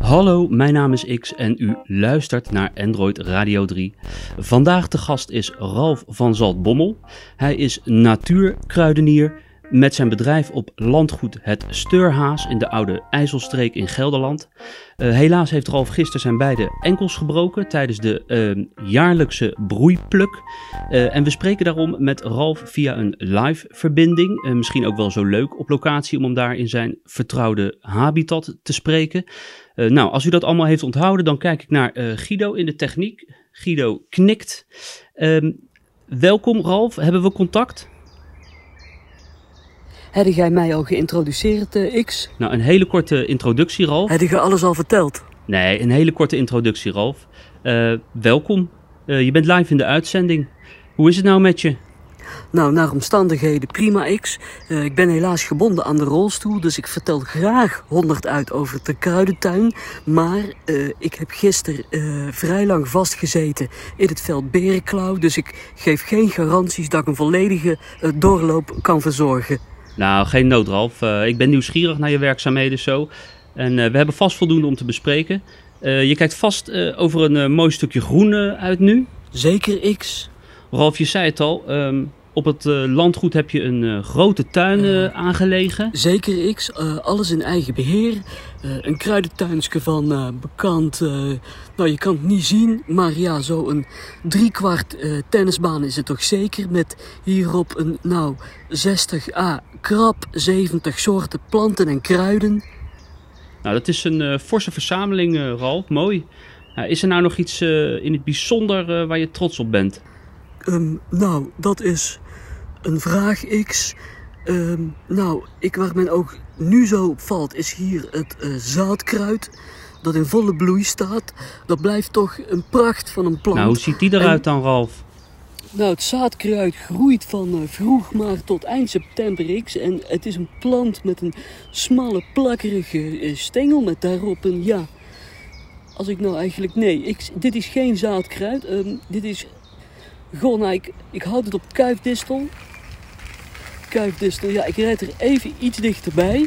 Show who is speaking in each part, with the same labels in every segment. Speaker 1: Hallo, mijn naam is X en u luistert naar Android Radio 3. Vandaag de gast is Ralf van Zaltbommel. Hij is natuurkruidenier met zijn bedrijf op landgoed Het Steurhaas in de oude IJsselstreek in Gelderland. Eh, helaas heeft Ralf gisteren zijn beide enkels gebroken tijdens de eh, jaarlijkse broeipluk. Eh, en we spreken daarom met Ralf via een live verbinding. Eh, misschien ook wel zo leuk op locatie om hem daar in zijn vertrouwde habitat te spreken. Eh, nou, als u dat allemaal heeft onthouden, dan kijk ik naar eh, Guido in de techniek. Guido knikt. Ehm, welkom Ralf, hebben we contact?
Speaker 2: Heb jij mij al geïntroduceerd, eh, X?
Speaker 1: Nou, een hele korte introductie Ralf.
Speaker 2: Heb je alles al verteld?
Speaker 1: Nee, een hele korte introductie Ralf. Eh, welkom, Eh, je bent live in de uitzending. Hoe is het nou met je?
Speaker 2: Nou, naar omstandigheden prima, X. Eh, ik ben helaas gebonden aan de rolstoel, dus ik vertel graag honderd uit over de kruidentuin. Maar eh, ik heb gisteren eh, vrij lang vastgezeten in het veld Berenklauw, dus ik geef geen garanties dat ik een volledige eh, doorloop kan verzorgen.
Speaker 1: Nou, geen nood Ralf. Eh, ik ben nieuwsgierig naar je werkzaamheden zo. En eh, we hebben vast voldoende om te bespreken. Eh, je kijkt vast eh, over een eh, mooi stukje groen eh, uit nu.
Speaker 2: Zeker, X.
Speaker 1: Ralf, je zei het al. ehm, op het eh, landgoed heb je een eh, grote tuin eh, aangelegen.
Speaker 2: Zeker X, eh, alles in eigen beheer. Eh, een kruidentuinske van eh, bekant, eh, nou je kan het niet zien, maar ja, zo'n driekwart eh tennisbaan is het toch zeker. Met hierop een, nou, 60 à krap 70 soorten planten en kruiden.
Speaker 1: Nou, dat is een eh, forse verzameling, eh, Ralf. Mooi. Nou, is er nou nog iets eh, in het bijzonder eh, waar je trots op bent?
Speaker 2: Ehm, nou, dat is een vraag X. Ehm, nou, ik, waar men ook nu zo op valt, is hier het eh, zaadkruid. Dat in volle bloei staat. Dat blijft toch een pracht van een plant.
Speaker 1: Nou, hoe ziet die eruit dan, Ralf?
Speaker 2: Nou, het zaadkruid groeit van eh, vroeg maart tot eind september X. En het is een plant met een smalle, plakkerige eh, stengel met daarop een ja. Als ik nou eigenlijk. Nee, ik, dit is geen zaadkruid. Ehm, dit is. Goh, nou, ik, ik houd het op kuifdistel. Kuifdistel, ja, ik rijd er even iets dichterbij.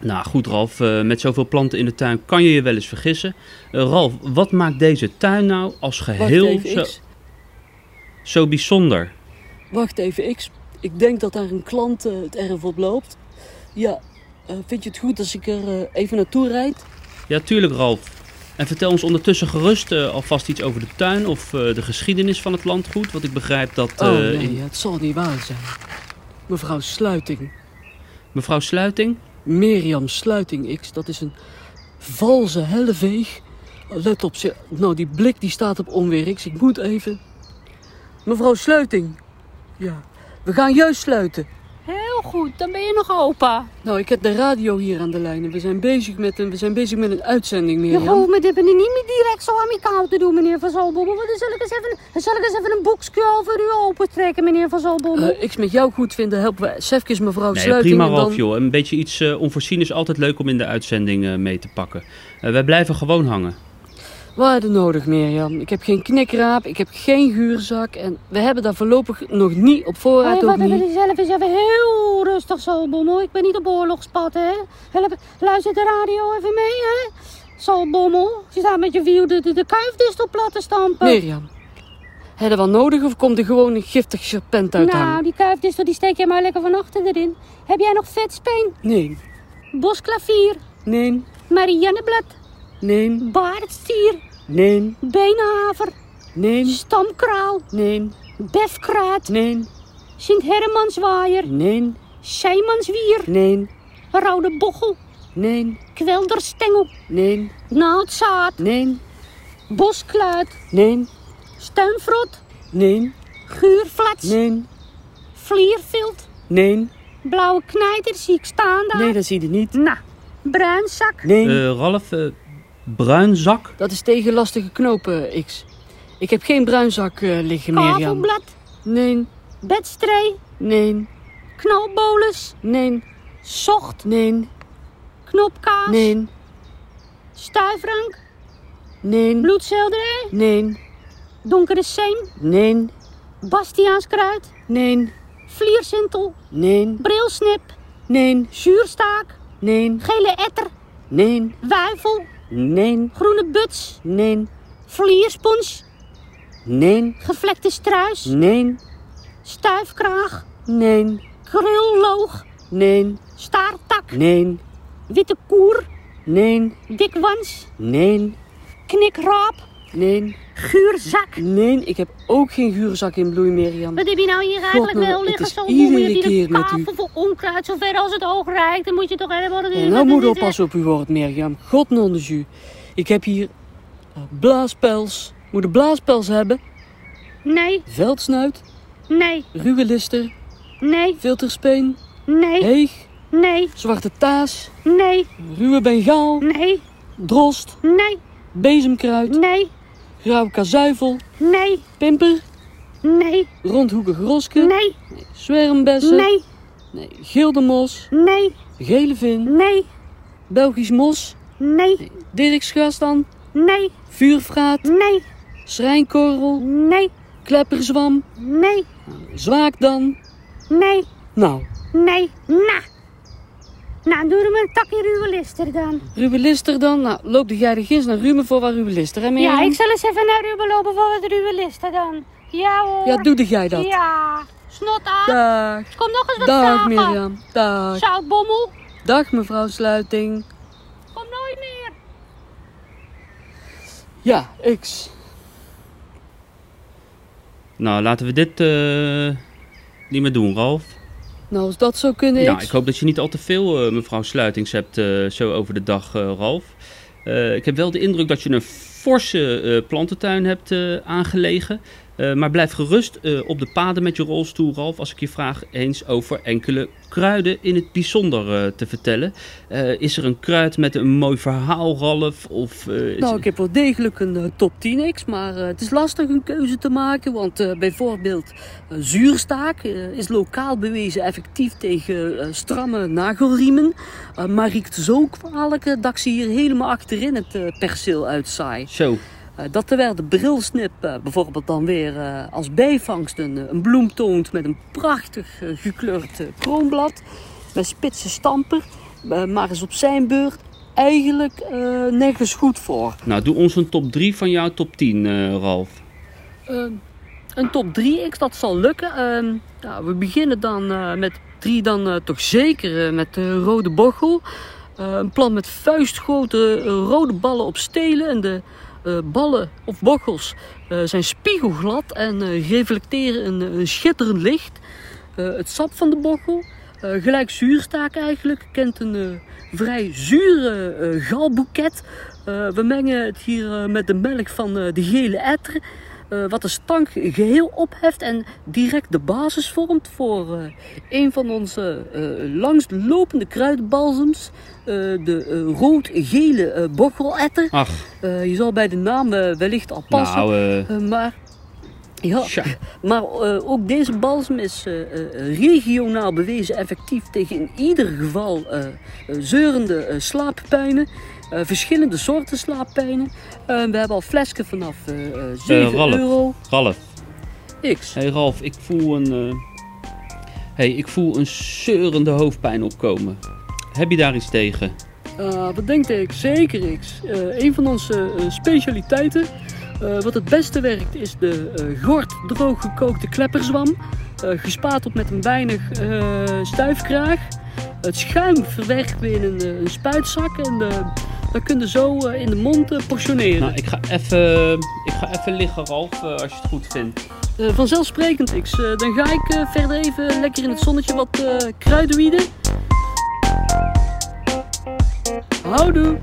Speaker 1: Nou goed, Ralf, eh, met zoveel planten in de tuin kan je je wel eens vergissen. Eh, Ralf, wat maakt deze tuin nou als
Speaker 2: Wacht
Speaker 1: geheel
Speaker 2: even,
Speaker 1: zo,
Speaker 2: X.
Speaker 1: zo bijzonder?
Speaker 2: Wacht even, X. Ik denk dat daar een klant eh, het erf op loopt. Ja, eh, vind je het goed als ik er eh, even naartoe rijd?
Speaker 1: Ja, tuurlijk, Ralf. En vertel ons ondertussen gerust eh, alvast iets over de tuin of eh, de geschiedenis van het landgoed. Want ik begrijp dat eh,
Speaker 2: Oh nee,
Speaker 1: in-
Speaker 2: het zal niet waar zijn. Mevrouw Sluiting,
Speaker 1: mevrouw Sluiting...
Speaker 2: Mirjam Sluiting X, dat is een valse helleveeg. Let op, ze, nou die blik die staat op onweer X, ik moet even... Mevrouw Sluiting, ja, we gaan juist sluiten.
Speaker 3: Heel goed, dan ben je nog opa.
Speaker 2: Nou, ik heb de radio hier aan de lijn en we zijn bezig met een, we zijn bezig met een uitzending,
Speaker 3: Je
Speaker 2: Mirjam.
Speaker 3: hoeft me dit niet meer direct zo amicaal te doen, meneer Van Zalbommel. Want dan zal ik eens even, dan zal ik eens even een boekje over u opentrekken, meneer Van Zalbommel.
Speaker 2: Eh X, met jou goed vinden helpen we Sefkes mevrouw
Speaker 1: Nee,
Speaker 2: Oh, Sluiting
Speaker 1: prima
Speaker 2: en dan...
Speaker 1: Ralf, joh. Een beetje iets eh onvoorzien is altijd leuk om in de uitzending eh, mee te pakken. Eh, wij blijven gewoon hangen.
Speaker 2: Waarde nodig, Mirjam. Ik heb geen knikraap, ik heb geen guurzak en we hebben daar voorlopig nog niet op
Speaker 3: Hey,
Speaker 2: voorraad ook
Speaker 3: wat hebben
Speaker 2: niet.
Speaker 3: jullie zelf eens even heel rustig, Zalbommel. Ik ben niet op oorlogspad, hè. Help, luister de radio even mee, hè. Zalbommel, je staat met je wiel de, de, de kuifdistel plat te stampen.
Speaker 2: Mirjam, heb je wat nodig of komt er gewoon een giftig serpent uit
Speaker 3: nou,
Speaker 2: hangen?
Speaker 3: die kuifdistel die steek jij maar lekker van achter erin. Heb jij nog vetspeen,
Speaker 2: Nee,
Speaker 3: bosklavier,
Speaker 2: nee,
Speaker 3: marianneblad,
Speaker 2: nee,
Speaker 3: baardstier,
Speaker 2: nee,
Speaker 3: Beenhaver,
Speaker 2: nee,
Speaker 3: Stamkraal,
Speaker 2: nee,
Speaker 3: Befkraat,
Speaker 2: nee,
Speaker 3: Sint-Hermanswaaier,
Speaker 2: nee,
Speaker 3: Seimanswier,
Speaker 2: nee,
Speaker 3: Rode Bochel,
Speaker 2: nee,
Speaker 3: Kwelderstengel,
Speaker 2: nee,
Speaker 3: Naaldzaad,
Speaker 2: nee,
Speaker 3: Boskluit,
Speaker 2: nee,
Speaker 3: Stuinvrot,
Speaker 2: nee,
Speaker 3: Guurflats,
Speaker 2: nee,
Speaker 3: Vliervild,
Speaker 2: nee,
Speaker 3: Blauwe Knijter zie ik staan daar.
Speaker 2: nee, dat zie je niet.
Speaker 3: Nou, Bruinzak,
Speaker 2: Nee,
Speaker 1: Eh Ralf, eh, bruinzak?
Speaker 2: dat is tegen lastige knopen, X. Ik heb geen bruinzak eh, liggen, Mirjam.
Speaker 3: Kavelblad,
Speaker 2: Nee,
Speaker 3: Bedstree,
Speaker 2: nee.
Speaker 3: Knalbolus,
Speaker 2: Nee,
Speaker 3: Zocht,
Speaker 2: nee,
Speaker 3: Knopkaas,
Speaker 2: nee,
Speaker 3: Stuifrank,
Speaker 2: nee,
Speaker 3: Bloedselderij,
Speaker 2: nee,
Speaker 3: Donkere Seem,
Speaker 2: nee,
Speaker 3: Bastiaanskruid,
Speaker 2: nee,
Speaker 3: Vliersintel,
Speaker 2: nee,
Speaker 3: Brilsnip,
Speaker 2: nee,
Speaker 3: Zuurstaak,
Speaker 2: nee,
Speaker 3: gele etter,
Speaker 2: nee,
Speaker 3: wuifel,
Speaker 2: nee,
Speaker 3: groene buts,
Speaker 2: nee,
Speaker 3: vlierspons,
Speaker 2: nee,
Speaker 3: gevlekte struis,
Speaker 2: nee,
Speaker 3: stuifkraag,
Speaker 2: nee,
Speaker 3: krulloog,
Speaker 2: nee,
Speaker 3: staarttak,
Speaker 2: nee,
Speaker 3: witte koer,
Speaker 2: nee,
Speaker 3: dikwans,
Speaker 2: nee,
Speaker 3: knikraap,
Speaker 2: nee,
Speaker 3: guurzak.
Speaker 2: nee. Ik heb ook geen guurzak in bloei, Mirjam.
Speaker 3: Wat heb je nou hier eigenlijk
Speaker 2: Godnomme,
Speaker 3: wel
Speaker 2: het
Speaker 3: liggen?
Speaker 2: is
Speaker 3: Zo'n boel
Speaker 2: iedere
Speaker 3: hier die
Speaker 2: keer
Speaker 3: de
Speaker 2: met u.
Speaker 3: kaven voor onkruid, zover als het oog reikt. Dan moet je toch helemaal...
Speaker 2: En nou moet oppassen op uw woord, Mirjam. God non de jus. Ik heb hier eh, blaaspels. Moet een blaaspels hebben.
Speaker 3: Nee,
Speaker 2: Veldsnuit,
Speaker 3: nee,
Speaker 2: ruwe lister,
Speaker 3: nee,
Speaker 2: filterspeen,
Speaker 3: nee,
Speaker 2: heeg,
Speaker 3: nee,
Speaker 2: zwarte taas,
Speaker 3: nee,
Speaker 2: ruwe bengaal,
Speaker 3: nee,
Speaker 2: drost,
Speaker 3: nee,
Speaker 2: bezemkruid,
Speaker 3: nee,
Speaker 2: grauw kazuivel,
Speaker 3: nee,
Speaker 2: pimper,
Speaker 3: nee,
Speaker 2: rondhoekig roske,
Speaker 3: nee,
Speaker 2: zwermbessen,
Speaker 3: nee,
Speaker 2: nee, gildemos,
Speaker 3: nee,
Speaker 2: gele vin,
Speaker 3: nee,
Speaker 2: Belgisch mos,
Speaker 3: nee,
Speaker 2: dirksgastan,
Speaker 3: nee,
Speaker 2: vuurvraat,
Speaker 3: nee,
Speaker 2: schrijnkorrel,
Speaker 3: nee,
Speaker 2: klepperzwam,
Speaker 3: nee,
Speaker 2: zwaakdan.
Speaker 3: nee,
Speaker 2: Nou,
Speaker 3: nee, na. Nou, doe hem een takje ruwe lister dan.
Speaker 2: ruwe lister dan. Nou, loop de jij de gins naar Rumen voor waar ruwe lister, hè Mirjam?
Speaker 3: Ja, ik zal eens even naar Ruben lopen voor wat ruwe listen dan. Ja hoor.
Speaker 2: Ja, doe de jij dat.
Speaker 3: Ja, snot aan.
Speaker 2: Dag.
Speaker 3: Kom nog eens wat
Speaker 2: Dag
Speaker 3: vragen.
Speaker 2: Mirjam. Dag.
Speaker 3: Zoutbommel,
Speaker 2: Dag mevrouw Sluiting.
Speaker 3: kom nooit meer.
Speaker 2: Ja, X.
Speaker 1: Nou, laten we dit eh, niet meer doen, Ralf.
Speaker 2: Nou, als dat zou kunnen,
Speaker 1: Nou,
Speaker 2: X.
Speaker 1: ik hoop dat je niet al te veel eh, mevrouw Sluitings hebt eh, zo over de dag, eh, Ralf. Eh, ik heb wel de indruk dat je een forse eh, plantentuin hebt eh, aangelegen. Eh, maar blijf gerust eh, op de paden met je rolstoel, Ralf, als ik je vraag eens over enkele kruiden in het bijzonder eh, te vertellen. Eh, is er een kruid met een mooi verhaal, Ralf? Of, eh, is-
Speaker 2: Nou, ik heb wel degelijk een eh, top 10 X, maar eh, het is lastig een keuze te maken. Want eh, bijvoorbeeld eh, zuurstaak eh, is lokaal bewezen effectief tegen eh, stramme nagelriemen. eh, maar riekt zo kwalijk eh, dat ik ze hier helemaal achterin het eh, perceel uitzaai.
Speaker 1: Zo,
Speaker 2: Eh, dat terwijl de brilsnip eh, bijvoorbeeld dan weer eh, als bijvangst een, eh, een bloem toont met een prachtig eh, gekleurd eh, kroonblad met spitse stamper, eh, maar is op zijn beurt eigenlijk eh, nergens goed voor.
Speaker 1: nou doe ons een top 3 van jouw top 10, eh, Ralf.
Speaker 2: Eh, een top 3x, dat zal lukken. Eh, ja, we beginnen dan eh, met 3 dan eh, toch zeker eh, met de rode bochel. Eh, een plan met vuistgrote eh, rode ballen op stelen en de eh, ballen of bochels eh, zijn spiegelglad en eh, reflecteren een, een schitterend licht. Eh, het sap van de bochel, eh, gelijk zuurstaak eigenlijk, kent een eh, vrij zure eh, galboeket. Eh, we mengen het hier eh, met de melk van eh, de gele etter, eh, wat de stank geheel opheft en direct de basis vormt voor eh, een van onze eh langstlopende kruidenbalsems, eh, de eh, rood-gele eh, bocheletter.
Speaker 1: Ach,
Speaker 2: Eh, je zal bij de naam eh, wellicht al passen.
Speaker 1: Ah. nou, eh,
Speaker 2: Eh, maar ja,
Speaker 1: tja.
Speaker 2: maar eh, ook deze balsem is eh, eh, regionaal bewezen effectief tegen in ieder geval eh, eh, zeurende eh, slaappijnen. eh, verschillende soorten slaappijnen. Eh, we hebben al flesken vanaf eh, eh, 7
Speaker 1: Ralf.
Speaker 2: euro.
Speaker 1: Ralf.
Speaker 2: X.
Speaker 1: Hé hey Ralf, ik voel een. eh, Hey, ik voel een zeurende hoofdpijn opkomen. Heb je daar iets tegen?
Speaker 2: Eh, wat denkt ik? Zeker X. Eh, een van onze eh, specialiteiten. Eh, wat het beste werkt is de eh, gort droog gekookte klepperzwam. eh, gespaard op met een weinig eh, stuifkraag. Het schuim verwerken we in een, eh, een spuitzak. En eh dat kun je zo eh, in de mond eh, portioneren.
Speaker 1: Nou, ik ga even. Ik ga even liggen, Ralf, eh, als je het goed vindt.
Speaker 2: Eh, vanzelfsprekend X. Eh, dan ga ik eh, verder even lekker in het zonnetje wat eh kruidenwieden. Houdoe!